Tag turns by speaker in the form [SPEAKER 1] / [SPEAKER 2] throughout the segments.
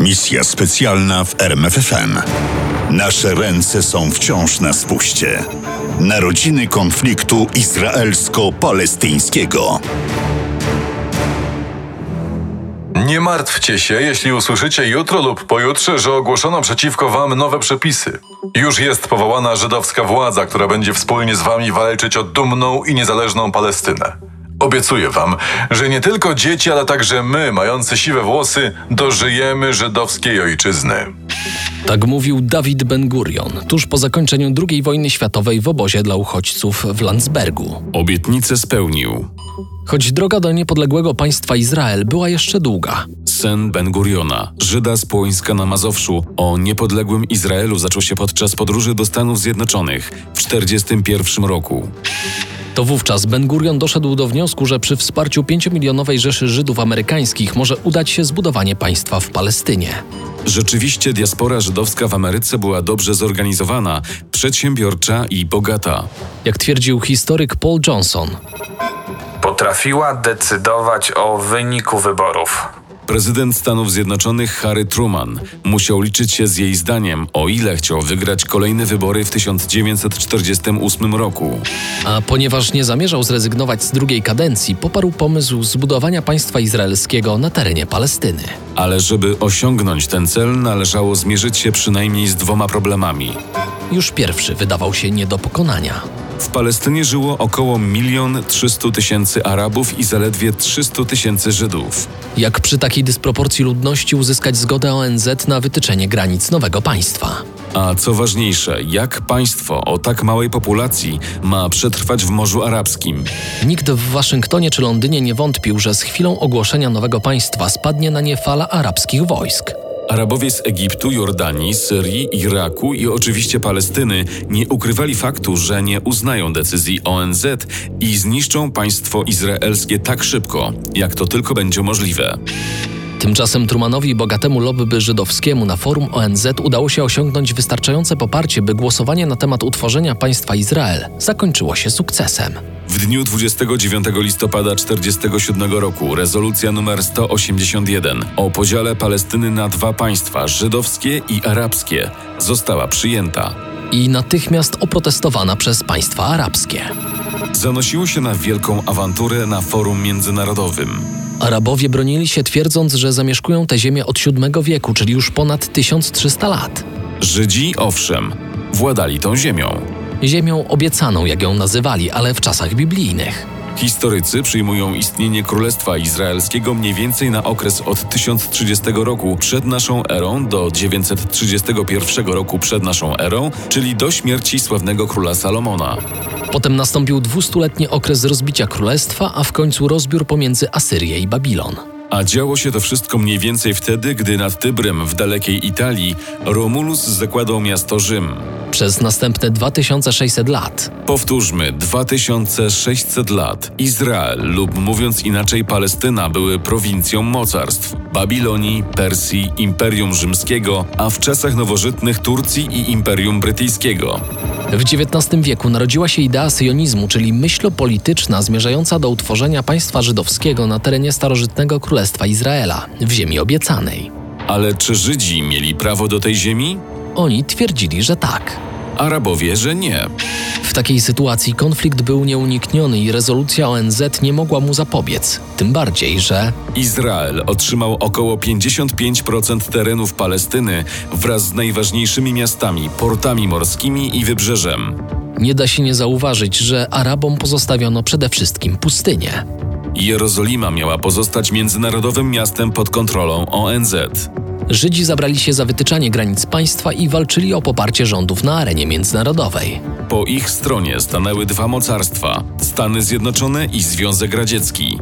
[SPEAKER 1] Misja specjalna w RMFFM. Nasze ręce są wciąż na spuście. Narodziny konfliktu izraelsko-palestyńskiego.
[SPEAKER 2] Nie martwcie się, jeśli usłyszycie jutro lub pojutrze, że ogłoszono przeciwko wam nowe przepisy. Już jest powołana żydowska władza, która będzie wspólnie z wami walczyć o dumną i niezależną Palestynę. Obiecuję wam, że nie tylko dzieci, ale także my, mający siwe włosy, dożyjemy żydowskiej ojczyzny.
[SPEAKER 3] Tak mówił Dawid Ben-Gurion tuż po zakończeniu II wojny światowej w obozie dla uchodźców w Landsbergu.
[SPEAKER 4] Obietnicę spełnił.
[SPEAKER 3] Choć droga do niepodległego państwa Izrael była jeszcze długa,
[SPEAKER 4] Sen Ben-Guriona, Żyda z Płońska na Mazowszu, o niepodległym Izraelu zaczął się podczas podróży do Stanów Zjednoczonych w 1941 roku.
[SPEAKER 3] to wówczas Ben-Gurion doszedł do wniosku, że przy wsparciu 5-milionowej rzeszy Żydów amerykańskich może udać się zbudowanie państwa w Palestynie.
[SPEAKER 4] Rzeczywiście diaspora żydowska w Ameryce była dobrze zorganizowana, przedsiębiorcza i bogata.
[SPEAKER 3] Jak twierdził historyk Paul Johnson,
[SPEAKER 5] Potrafiła decydować o wyniku wyborów.
[SPEAKER 4] Prezydent Stanów Zjednoczonych Harry Truman musiał liczyć się z jej zdaniem, o ile chciał wygrać kolejne wybory w 1948 roku.
[SPEAKER 3] a ponieważ nie zamierzał zrezygnować z drugiej kadencji, poparł pomysł zbudowania państwa izraelskiego na terenie Palestyny.
[SPEAKER 4] Ale żeby osiągnąć ten cel, należało zmierzyć się przynajmniej z dwoma problemami.
[SPEAKER 3] Już pierwszy wydawał się nie do pokonania.
[SPEAKER 4] W Palestynie żyło około 1 300 tysięcy Arabów i zaledwie 300 tysięcy Żydów.
[SPEAKER 3] Jak przy takiej dysproporcji ludności uzyskać zgodę ONZ na wytyczenie granic nowego państwa?
[SPEAKER 4] A co ważniejsze, jak państwo o tak małej populacji ma przetrwać w Morzu Arabskim?
[SPEAKER 3] Nikt w Waszyngtonie czy Londynie nie wątpił, że z chwilą ogłoszenia nowego państwa spadnie na nie fala arabskich wojsk.
[SPEAKER 4] Arabowie z Egiptu, Jordanii, Syrii, Iraku i oczywiście Palestyny nie ukrywali faktu, że nie uznają decyzji ONZ i zniszczą państwo izraelskie tak szybko, jak to tylko będzie możliwe.
[SPEAKER 3] Tymczasem Trumanowi i bogatemu lobby żydowskiemu na forum ONZ udało się osiągnąć wystarczające poparcie, by głosowanie na temat utworzenia państwa Izrael zakończyło się sukcesem.
[SPEAKER 4] W dniu 29 listopada 1947 roku rezolucja nr 181 o podziale Palestyny na dwa państwa, żydowskie i arabskie, została przyjęta.
[SPEAKER 3] I natychmiast oprotestowana przez państwa arabskie.
[SPEAKER 4] Zanosiło się na wielką awanturę na forum międzynarodowym.
[SPEAKER 3] Arabowie bronili się twierdząc, że zamieszkują te ziemię od VII wieku, czyli już ponad 1300 lat.
[SPEAKER 4] Żydzi, owszem, władali tą ziemią.
[SPEAKER 3] Ziemią obiecaną, jak ją nazywali, ale w czasach biblijnych.
[SPEAKER 4] Historycy przyjmują istnienie Królestwa Izraelskiego mniej więcej na okres od 1030 roku przed naszą erą do 931 roku przed naszą erą, czyli do śmierci sławnego króla Salomona.
[SPEAKER 3] Potem nastąpił dwustuletni okres rozbicia królestwa, a w końcu rozbiór pomiędzy Asyrię i Babilon.
[SPEAKER 4] A działo się to wszystko mniej więcej wtedy, gdy nad Tybrem w dalekiej Italii Romulus zakładał miasto Rzym.
[SPEAKER 3] Przez następne 2600 lat
[SPEAKER 4] Powtórzmy, 2600 lat Izrael lub mówiąc inaczej Palestyna były prowincją mocarstw Babilonii, Persji, Imperium Rzymskiego, a w czasach nowożytnych Turcji i Imperium Brytyjskiego.
[SPEAKER 3] w XIX wieku narodziła się idea syjonizmu, czyli myśl polityczna zmierzająca do utworzenia państwa żydowskiego na terenie starożytnego Królestwa Izraela, w ziemi obiecanej.
[SPEAKER 4] Ale czy Żydzi mieli prawo do tej ziemi?
[SPEAKER 3] Oni twierdzili, że tak.
[SPEAKER 4] Arabowie, że nie.
[SPEAKER 3] W takiej sytuacji konflikt był nieunikniony i rezolucja ONZ nie mogła mu zapobiec. Tym bardziej, że
[SPEAKER 4] Izrael otrzymał około 55% terenów Palestyny wraz z najważniejszymi miastami, portami morskimi i wybrzeżem.
[SPEAKER 3] nie da się nie zauważyć, że Arabom pozostawiono przede wszystkim pustynię.
[SPEAKER 4] Jerozolima miała pozostać międzynarodowym miastem pod kontrolą ONZ.
[SPEAKER 3] Żydzi zabrali się za wytyczanie granic państwa i walczyli o poparcie rządów na arenie międzynarodowej.
[SPEAKER 4] Po ich stronie stanęły dwa mocarstwa Stany Zjednoczone i Związek Radziecki.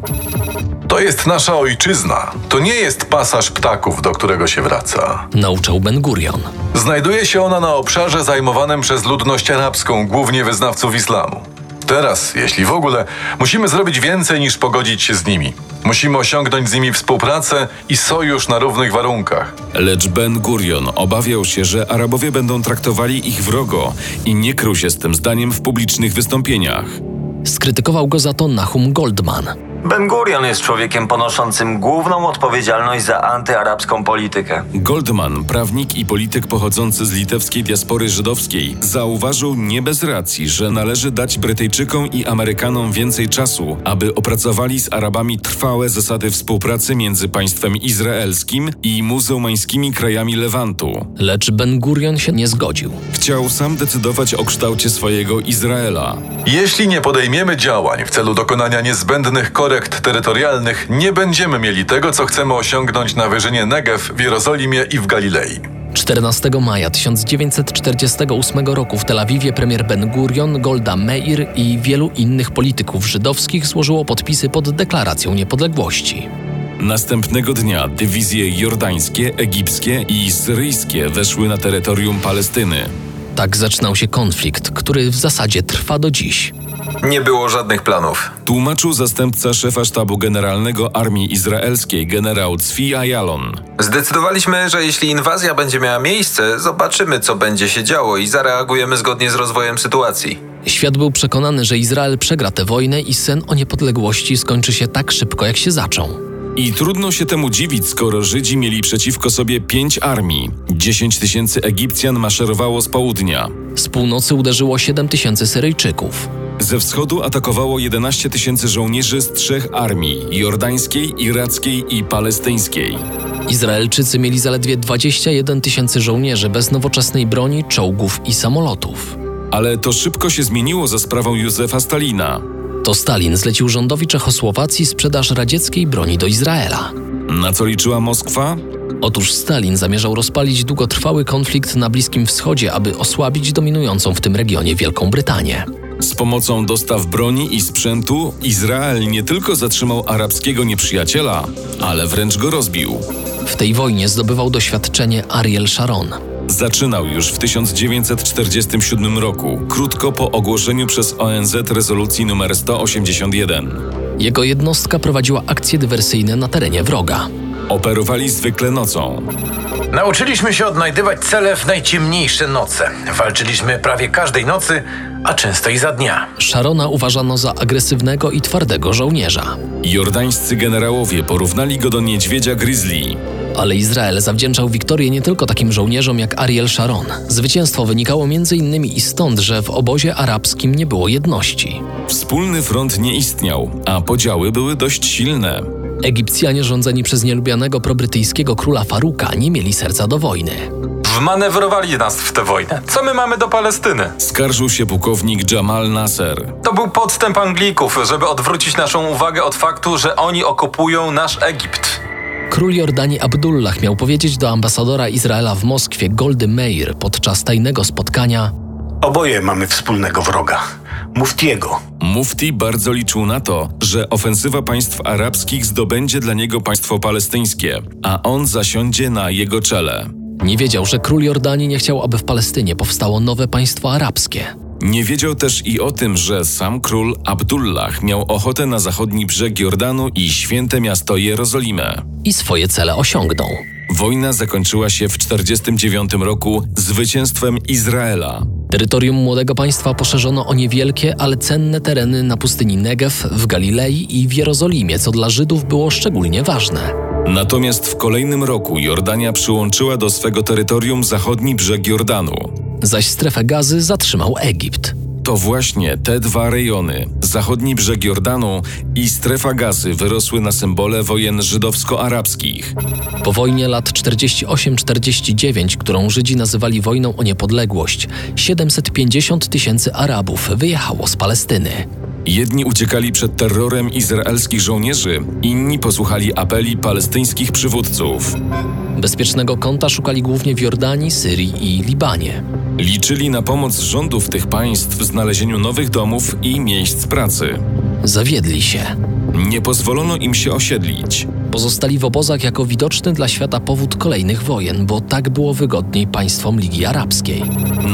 [SPEAKER 2] To jest nasza ojczyzna. To nie jest pasaż ptaków, do którego się wraca.
[SPEAKER 3] Nauczał Ben Gurion.
[SPEAKER 2] Znajduje się ona na obszarze zajmowanym przez ludność arabską, głównie wyznawców islamu. Teraz, jeśli w ogóle, musimy zrobić więcej niż pogodzić się z nimi. Musimy osiągnąć z nimi współpracę i sojusz na równych warunkach.
[SPEAKER 4] Lecz Ben Gurion obawiał się, że Arabowie będą traktowali ich wrogo i nie krył się z tym zdaniem w publicznych wystąpieniach.
[SPEAKER 3] Skrytykował go za to Nahum Goldman.
[SPEAKER 6] Ben Gurion jest człowiekiem ponoszącym główną odpowiedzialność za antyarabską politykę.
[SPEAKER 4] Goldman, prawnik i polityk pochodzący z litewskiej diaspory żydowskiej, zauważył nie bez racji, że należy dać Brytyjczykom i Amerykanom więcej czasu, aby opracowali z Arabami trwałe zasady współpracy między państwem izraelskim i muzułmańskimi krajami Lewantu.
[SPEAKER 3] Lecz Ben Gurion się nie zgodził.
[SPEAKER 4] Chciał sam decydować o kształcie swojego Izraela.
[SPEAKER 2] Jeśli nie podejmiemy działań w celu dokonania niezbędnych korekt terytorialnych, nie będziemy mieli tego, co chcemy osiągnąć na wyżynie Negev, w Jerozolimie i w Galilei.
[SPEAKER 3] 14 maja 1948 roku w Tel Awiwie premier Ben Gurion, Golda Meir i wielu innych polityków żydowskich złożyło podpisy pod deklaracją niepodległości.
[SPEAKER 4] Następnego dnia dywizje jordańskie, egipskie i syryjskie weszły na terytorium Palestyny.
[SPEAKER 3] Tak zaczynał się konflikt, który w zasadzie trwa do dziś.
[SPEAKER 2] Nie było żadnych planów.
[SPEAKER 4] Tłumaczył zastępca szefa sztabu generalnego Armii Izraelskiej generał Zvi Ayalon.
[SPEAKER 7] Zdecydowaliśmy, że jeśli inwazja będzie miała miejsce, zobaczymy, co będzie się działo i zareagujemy zgodnie z rozwojem sytuacji.
[SPEAKER 3] Świat był przekonany, że Izrael przegra tę wojnę i sen o niepodległości skończy się tak szybko, jak się zaczął.
[SPEAKER 4] I trudno się temu dziwić, skoro Żydzi mieli przeciwko sobie pięć armii. 10 tysięcy Egipcjan maszerowało z południa.
[SPEAKER 3] Z północy uderzyło 7 tysięcy Syryjczyków.
[SPEAKER 4] Ze wschodu atakowało 11 tysięcy żołnierzy z trzech armii jordańskiej, irackiej i palestyńskiej.
[SPEAKER 3] Izraelczycy mieli zaledwie 21 tysięcy żołnierzy bez nowoczesnej broni, czołgów i samolotów.
[SPEAKER 4] Ale to szybko się zmieniło za sprawą Józefa Stalina.
[SPEAKER 3] To Stalin zlecił rządowi Czechosłowacji sprzedaż radzieckiej broni do Izraela.
[SPEAKER 4] Na co liczyła Moskwa?
[SPEAKER 3] Otóż Stalin zamierzał rozpalić długotrwały konflikt na Bliskim Wschodzie, aby osłabić dominującą w tym regionie Wielką Brytanię.
[SPEAKER 4] Z pomocą dostaw broni i sprzętu Izrael nie tylko zatrzymał arabskiego nieprzyjaciela, ale wręcz go rozbił.
[SPEAKER 3] W tej wojnie zdobywał doświadczenie Ariel Sharon.
[SPEAKER 4] Zaczynał już w 1947 roku, krótko po ogłoszeniu przez ONZ rezolucji nr 181.
[SPEAKER 3] Jego jednostka prowadziła akcje dywersyjne na terenie wroga.
[SPEAKER 4] Operowali zwykle nocą.
[SPEAKER 8] Nauczyliśmy się odnajdywać cele w najciemniejsze noce. Walczyliśmy prawie każdej nocy, a często i za dnia.
[SPEAKER 3] Sharona uważano za agresywnego i twardego żołnierza.
[SPEAKER 4] Jordańscy generałowie porównali go do niedźwiedzia grizzly.
[SPEAKER 3] Ale Izrael zawdzięczał wiktorię nie tylko takim żołnierzom jak Ariel Sharon. Zwycięstwo wynikało m.in. i stąd, że w obozie arabskim nie było jedności.
[SPEAKER 4] Wspólny front nie istniał, a podziały były dość silne.
[SPEAKER 3] Egipcjanie rządzeni przez nielubianego probrytyjskiego króla Faruka nie mieli serca do wojny.
[SPEAKER 5] Wmanewrowali nas w tę wojnę. Co my mamy do Palestyny?
[SPEAKER 4] Skarżył się pułkownik Jamal Nasser.
[SPEAKER 5] To był podstęp Anglików, żeby odwrócić naszą uwagę od faktu, że oni okupują nasz Egipt.
[SPEAKER 3] Król Jordanii Abdullah miał powiedzieć do ambasadora Izraela w Moskwie Goldy Meir podczas tajnego spotkania
[SPEAKER 9] Oboje mamy wspólnego wroga. Muftiego.
[SPEAKER 4] Mufti bardzo liczył na to, że ofensywa państw arabskich zdobędzie dla niego państwo palestyńskie, a on zasiądzie na jego czele.
[SPEAKER 3] Nie wiedział, że król Jordanii nie chciał, aby w Palestynie powstało nowe państwo arabskie.
[SPEAKER 4] Nie wiedział też i o tym, że sam król Abdullah miał ochotę na zachodni brzeg Jordanu i święte miasto Jerozolimę.
[SPEAKER 3] I swoje cele osiągnął.
[SPEAKER 4] Wojna zakończyła się w 1949 roku zwycięstwem Izraela.
[SPEAKER 3] Terytorium młodego państwa poszerzono o niewielkie, ale cenne tereny na pustyni Negev, w Galilei i w Jerozolimie, co dla Żydów było szczególnie ważne.
[SPEAKER 4] Natomiast w kolejnym roku Jordania przyłączyła do swego terytorium zachodni brzeg Jordanu.
[SPEAKER 3] Zaś strefę gazy zatrzymał Egipt.
[SPEAKER 4] To właśnie te dwa rejony, zachodni brzeg Jordanu i strefa gazy, wyrosły na symbole wojen żydowsko-arabskich.
[SPEAKER 3] Po wojnie lat 48-49, którą Żydzi nazywali wojną o niepodległość, 750 tysięcy Arabów wyjechało z Palestyny.
[SPEAKER 4] Jedni uciekali przed terrorem izraelskich żołnierzy, inni posłuchali apeli palestyńskich przywódców.
[SPEAKER 3] Bezpiecznego kąta szukali głównie w Jordanii, Syrii i Libanie.
[SPEAKER 4] Liczyli na pomoc rządów tych państw w znalezieniu nowych domów i miejsc pracy.
[SPEAKER 3] Zawiedli się.
[SPEAKER 4] Nie pozwolono im się osiedlić.
[SPEAKER 3] Pozostali w obozach jako widoczny dla świata powód kolejnych wojen, bo tak było wygodniej państwom Ligi Arabskiej.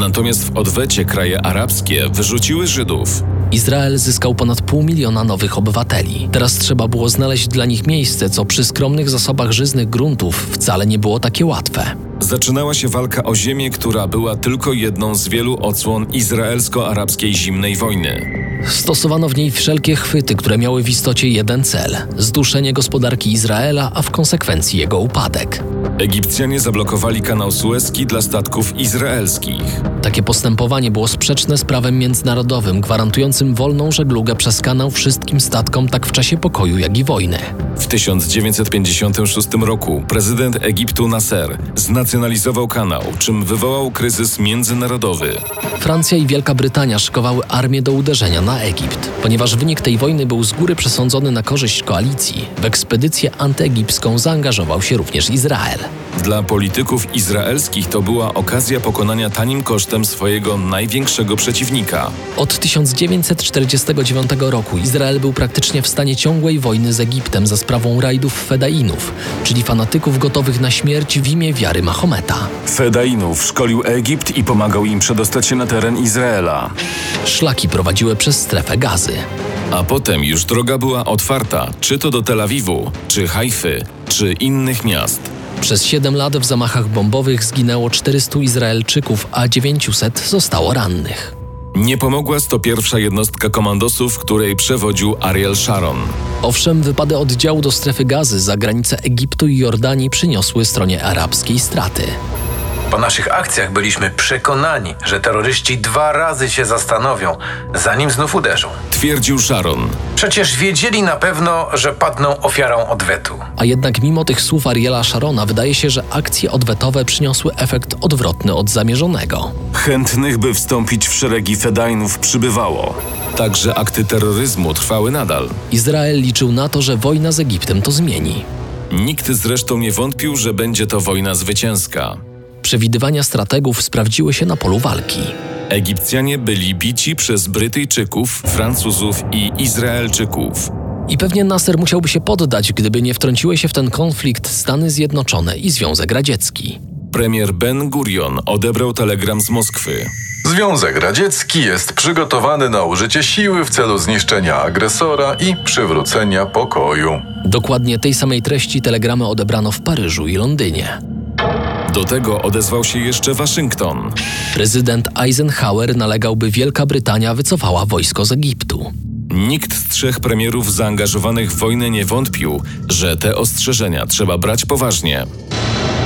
[SPEAKER 4] Natomiast w odwecie kraje arabskie wyrzuciły Żydów.
[SPEAKER 3] Izrael zyskał ponad pół miliona nowych obywateli. Teraz trzeba było znaleźć dla nich miejsce, co przy skromnych zasobach żyznych gruntów wcale nie było takie łatwe.
[SPEAKER 4] Zaczynała się walka o ziemię, która była tylko jedną z wielu odsłon izraelsko-arabskiej zimnej wojny.
[SPEAKER 3] Stosowano w niej wszelkie chwyty, które miały w istocie jeden cel zduszenie gospodarki Izraela, a w konsekwencji jego upadek.
[SPEAKER 4] Egipcjanie zablokowali kanał Suezki dla statków izraelskich.
[SPEAKER 3] Takie postępowanie było sprzeczne z prawem międzynarodowym, gwarantującym wolną żeglugę przez kanał wszystkim statkom tak w czasie pokoju, jak i wojny.
[SPEAKER 4] W 1956 roku prezydent Egiptu Nasser znacjonalizował kanał, czym wywołał kryzys międzynarodowy.
[SPEAKER 3] Francja i Wielka Brytania szykowały armię do uderzenia na Egipt. Ponieważ wynik tej wojny był z góry przesądzony na korzyść koalicji, w ekspedycję antyegipską zaangażował się również Izrael.
[SPEAKER 4] Dla polityków izraelskich to była okazja pokonania tanim kosztem swojego największego przeciwnika.
[SPEAKER 3] Od 1949 roku Izrael był praktycznie w stanie ciągłej wojny z Egiptem za sprawą rajdów fedainów, czyli fanatyków gotowych na śmierć w imię wiary Mahometa.
[SPEAKER 4] Fedainów szkolił Egipt i pomagał im przedostać się na teren Izraela.
[SPEAKER 3] Szlaki prowadziły przez strefę gazy.
[SPEAKER 4] A potem już droga była otwarta, czy to do Tel Awiwu, czy Hajfy, czy innych miast.
[SPEAKER 3] Przez 7 lat w zamachach bombowych zginęło 400 Izraelczyków, a 900 zostało rannych.
[SPEAKER 4] Nie pomogła 101 jednostka komandosów, której przewodził Ariel Sharon.
[SPEAKER 3] Owszem, wypady oddziału do strefy gazy za granice Egiptu i Jordanii przyniosły stronie arabskiej straty.
[SPEAKER 8] Po naszych akcjach byliśmy przekonani, że terroryści dwa razy się zastanowią, zanim znów uderzą.
[SPEAKER 4] Twierdził Sharon.
[SPEAKER 8] Przecież wiedzieli na pewno, że padną ofiarą odwetu.
[SPEAKER 3] A jednak mimo tych słów Ariela Sharona wydaje się, że akcje odwetowe przyniosły efekt odwrotny od zamierzonego.
[SPEAKER 4] Chętnych, by wstąpić w szeregi Fedainów, przybywało. Także akty terroryzmu trwały nadal.
[SPEAKER 3] Izrael liczył na to, że wojna z Egiptem to zmieni.
[SPEAKER 4] Nikt zresztą nie wątpił, że będzie to wojna zwycięska.
[SPEAKER 3] Przewidywania strategów sprawdziły się na polu walki.
[SPEAKER 4] Egipcjanie byli bici przez Brytyjczyków, Francuzów i Izraelczyków.
[SPEAKER 3] I pewnie Nasser musiałby się poddać, gdyby nie wtrąciły się w ten konflikt Stany Zjednoczone i Związek Radziecki.
[SPEAKER 4] Premier Ben Gurion odebrał telegram z Moskwy.
[SPEAKER 2] Związek Radziecki jest przygotowany na użycie siły w celu zniszczenia agresora i przywrócenia pokoju.
[SPEAKER 3] Dokładnie tej samej treści telegramy odebrano w Paryżu i Londynie.
[SPEAKER 4] Do tego odezwał się jeszcze Waszyngton.
[SPEAKER 3] Prezydent Eisenhower nalegał, by Wielka Brytania wycofała wojsko z Egiptu.
[SPEAKER 4] Nikt z trzech premierów zaangażowanych w wojnę nie wątpił, że te ostrzeżenia trzeba brać poważnie.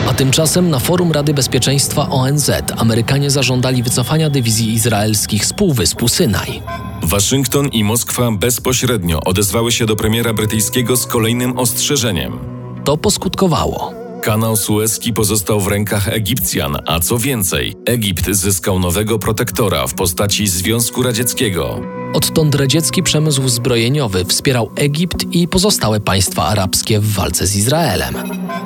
[SPEAKER 3] A tymczasem na forum Rady Bezpieczeństwa ONZ Amerykanie zażądali wycofania dywizji izraelskich z Półwyspu Synaj.
[SPEAKER 4] Waszyngton i Moskwa bezpośrednio odezwały się do premiera brytyjskiego z kolejnym ostrzeżeniem.
[SPEAKER 3] To poskutkowało.
[SPEAKER 4] Kanał Suezki pozostał w rękach Egipcjan, a co więcej, Egipt zyskał nowego protektora w postaci Związku Radzieckiego.
[SPEAKER 3] Odtąd radziecki przemysł zbrojeniowy wspierał Egipt i pozostałe państwa arabskie w walce z Izraelem.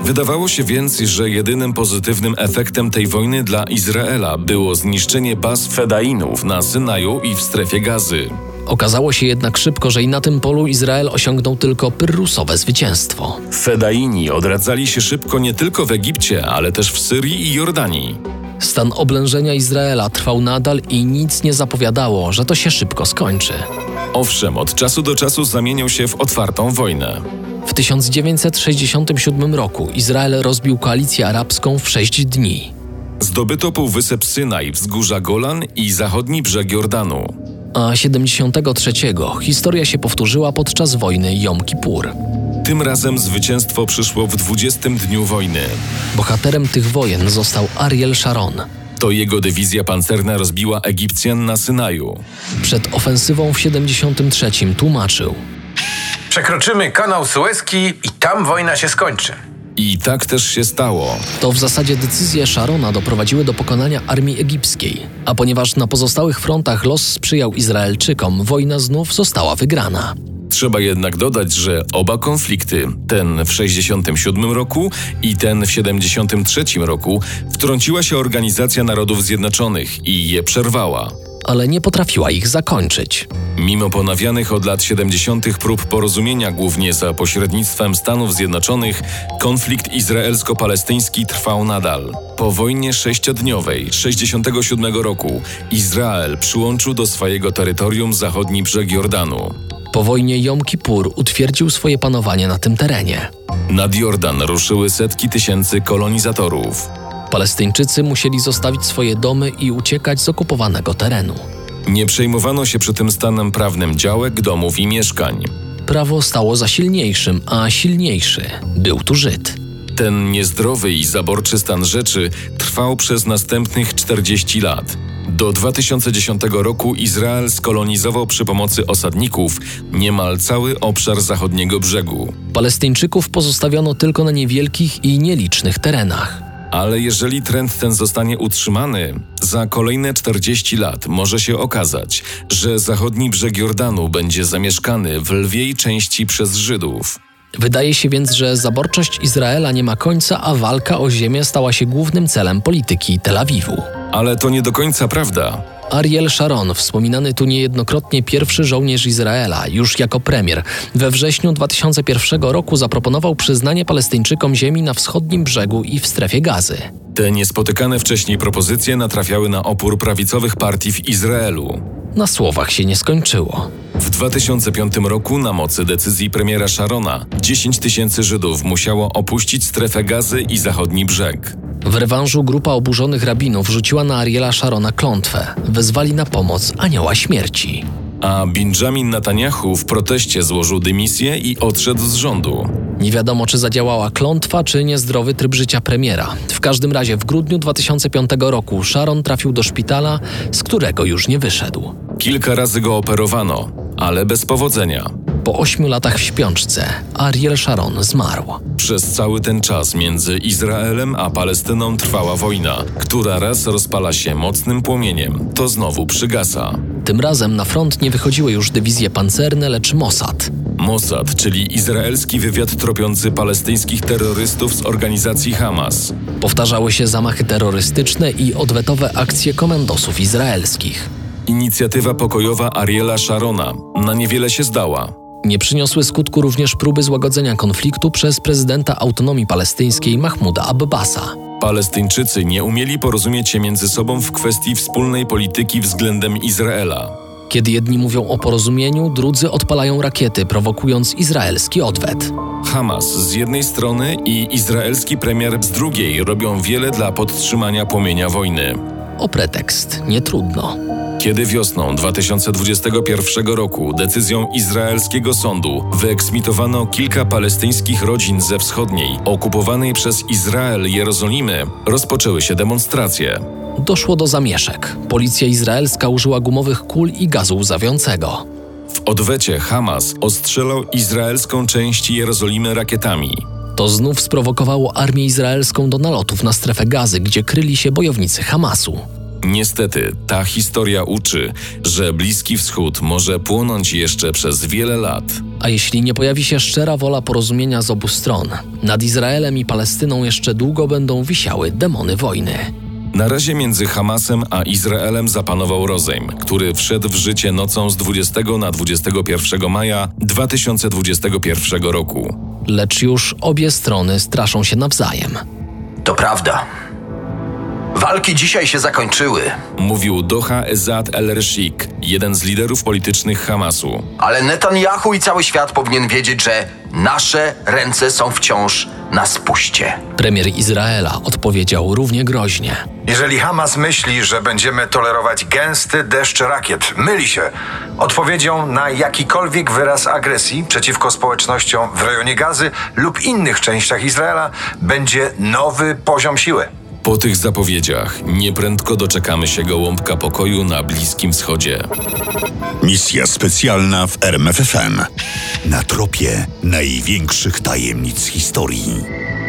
[SPEAKER 4] Wydawało się więc, że jedynym pozytywnym efektem tej wojny dla Izraela było zniszczenie baz Fedainów na Synaju i w strefie gazy.
[SPEAKER 3] Okazało się jednak szybko, że i na tym polu Izrael osiągnął tylko pyrrusowe zwycięstwo.
[SPEAKER 4] Fedaini odradzali się szybko nie tylko w Egipcie, ale też w Syrii i Jordanii.
[SPEAKER 3] Stan oblężenia Izraela trwał nadal i nic nie zapowiadało, że to się szybko skończy.
[SPEAKER 4] Owszem, od czasu do czasu zamieniał się w otwartą wojnę.
[SPEAKER 3] W 1967 roku Izrael rozbił koalicję arabską w sześć dni.
[SPEAKER 4] Zdobyto Półwysep Synaj, wzgórza Golan i zachodni brzeg Jordanu.
[SPEAKER 3] A 73 historia się powtórzyła podczas wojny Jom Kippur.
[SPEAKER 4] Tym razem zwycięstwo przyszło w 20 dniu wojny.
[SPEAKER 3] Bohaterem tych wojen został Ariel Sharon.
[SPEAKER 4] To jego dywizja pancerna rozbiła Egipcjan na Synaju.
[SPEAKER 3] Przed ofensywą w 73 tłumaczył:
[SPEAKER 8] Przekroczymy kanał Suezki i tam wojna się skończy.
[SPEAKER 4] I tak też się stało.
[SPEAKER 3] To w zasadzie decyzje Sharona doprowadziły do pokonania armii egipskiej, a ponieważ na pozostałych frontach los sprzyjał Izraelczykom, wojna znów została wygrana.
[SPEAKER 4] Trzeba jednak dodać, że oba konflikty, ten w 67 roku i ten w 73 roku, wtrąciła się Organizacja Narodów Zjednoczonych i je przerwała.
[SPEAKER 3] ale nie potrafiła ich zakończyć.
[SPEAKER 4] Mimo ponawianych od lat 70. prób porozumienia, głównie za pośrednictwem Stanów Zjednoczonych, konflikt izraelsko-palestyński trwał nadal. Po wojnie sześciodniowej 67 roku Izrael przyłączył do swojego terytorium zachodni brzeg Jordanu.
[SPEAKER 3] Po wojnie Jom Kippur utwierdził swoje panowanie na tym terenie.
[SPEAKER 4] Nad Jordan ruszyły setki tysięcy kolonizatorów.
[SPEAKER 3] Palestyńczycy musieli zostawić swoje domy i uciekać z okupowanego terenu.
[SPEAKER 4] Nie przejmowano się przy tym stanem prawnym działek, domów i mieszkań.
[SPEAKER 3] Prawo stało za silniejszym, a silniejszy był tu Żyd.
[SPEAKER 4] Ten niezdrowy i zaborczy stan rzeczy trwał przez następnych 40 lat. Do 2010 roku Izrael skolonizował przy pomocy osadników niemal cały obszar zachodniego brzegu.
[SPEAKER 3] Palestyńczyków pozostawiono tylko na niewielkich i nielicznych terenach.
[SPEAKER 4] Ale jeżeli trend ten zostanie utrzymany, za kolejne 40 lat może się okazać, że zachodni brzeg Jordanu będzie zamieszkany w lwiej części przez Żydów.
[SPEAKER 3] Wydaje się więc, że zaborczość Izraela nie ma końca, a walka o ziemię stała się głównym celem polityki Tel Awiwu.
[SPEAKER 4] Ale to nie do końca prawda.
[SPEAKER 3] Ariel Sharon, wspominany tu niejednokrotnie pierwszy żołnierz Izraela, już jako premier, we wrześniu 2001 roku zaproponował przyznanie Palestyńczykom ziemi na wschodnim brzegu i w strefie gazy.
[SPEAKER 4] Te niespotykane wcześniej propozycje natrafiały na opór prawicowych partii w Izraelu.
[SPEAKER 3] Na słowach się nie skończyło.
[SPEAKER 4] W 2005 roku na mocy decyzji premiera Sharona 10 tysięcy Żydów musiało opuścić strefę gazy i zachodni brzeg.
[SPEAKER 3] W rewanżu grupa oburzonych rabinów rzuciła na Ariela Sharona klątwę. Wezwali na pomoc anioła śmierci.
[SPEAKER 4] A Benjamin Netanyahu w proteście złożył dymisję i odszedł z rządu.
[SPEAKER 3] Nie wiadomo, czy zadziałała klątwa, czy niezdrowy tryb życia premiera. W każdym razie w grudniu 2005 roku Sharon trafił do szpitala, z którego już nie wyszedł.
[SPEAKER 4] Kilka razy go operowano, ale bez powodzenia.
[SPEAKER 3] Po ośmiu latach w śpiączce Ariel Sharon zmarł.
[SPEAKER 4] Przez cały ten czas między Izraelem a Palestyną trwała wojna, która raz rozpala się mocnym płomieniem, to znowu przygasa.
[SPEAKER 3] Tym razem na front nie wychodziły już dywizje pancerne, lecz Mossad.
[SPEAKER 4] Mossad, czyli izraelski wywiad tropiący palestyńskich terrorystów z organizacji Hamas.
[SPEAKER 3] Powtarzały się zamachy terrorystyczne i odwetowe akcje komandosów izraelskich.
[SPEAKER 4] Inicjatywa pokojowa Ariela Sharona na niewiele się zdała.
[SPEAKER 3] Nie przyniosły skutku również próby złagodzenia konfliktu przez prezydenta autonomii palestyńskiej Mahmuda Abbasa.
[SPEAKER 4] Palestyńczycy nie umieli porozumieć się między sobą w kwestii wspólnej polityki względem Izraela.
[SPEAKER 3] Kiedy jedni mówią o porozumieniu, drudzy odpalają rakiety, prowokując izraelski odwet.
[SPEAKER 4] Hamas z jednej strony i izraelski premier z drugiej robią wiele dla podtrzymania płomienia wojny.
[SPEAKER 3] O pretekst nie trudno.
[SPEAKER 4] Kiedy wiosną 2021 roku decyzją izraelskiego sądu wyeksmitowano kilka palestyńskich rodzin ze wschodniej, okupowanej przez Izrael Jerozolimy, rozpoczęły się demonstracje.
[SPEAKER 3] Doszło do zamieszek. Policja izraelska użyła gumowych kul i gazu łzawiącego.
[SPEAKER 4] W odwecie Hamas ostrzelał izraelską część Jerozolimy rakietami.
[SPEAKER 3] To znów sprowokowało armię izraelską do nalotów na strefę gazy, gdzie kryli się bojownicy Hamasu.
[SPEAKER 4] Niestety, ta historia uczy, że Bliski Wschód może płonąć jeszcze przez wiele lat.
[SPEAKER 3] A jeśli nie pojawi się szczera wola porozumienia z obu stron, nad Izraelem i Palestyną jeszcze długo będą wisiały demony wojny.
[SPEAKER 4] Na razie między Hamasem a Izraelem zapanował rozejm, który wszedł w życie nocą z 20 na 21 maja 2021 roku.
[SPEAKER 3] Lecz już obie strony straszą się nawzajem.
[SPEAKER 10] To prawda. Walki dzisiaj się zakończyły,
[SPEAKER 4] Mówił Doha Ezad El-Reshik, jeden z liderów politycznych Hamasu.
[SPEAKER 10] ale Netanyahu i cały świat powinien wiedzieć, że nasze ręce są wciąż na spuście.
[SPEAKER 3] Premier Izraela odpowiedział równie groźnie.
[SPEAKER 11] Jeżeli Hamas myśli, że będziemy tolerować gęsty deszcz rakiet, myli się. Odpowiedzią na jakikolwiek wyraz agresji przeciwko społecznościom w rejonie Gazy lub innych częściach Izraela będzie nowy poziom siły.
[SPEAKER 4] Po tych zapowiedziach nieprędko doczekamy się gołąbka pokoju na Bliskim Wschodzie.
[SPEAKER 1] Misja specjalna w RMFFM. Na tropie największych tajemnic historii.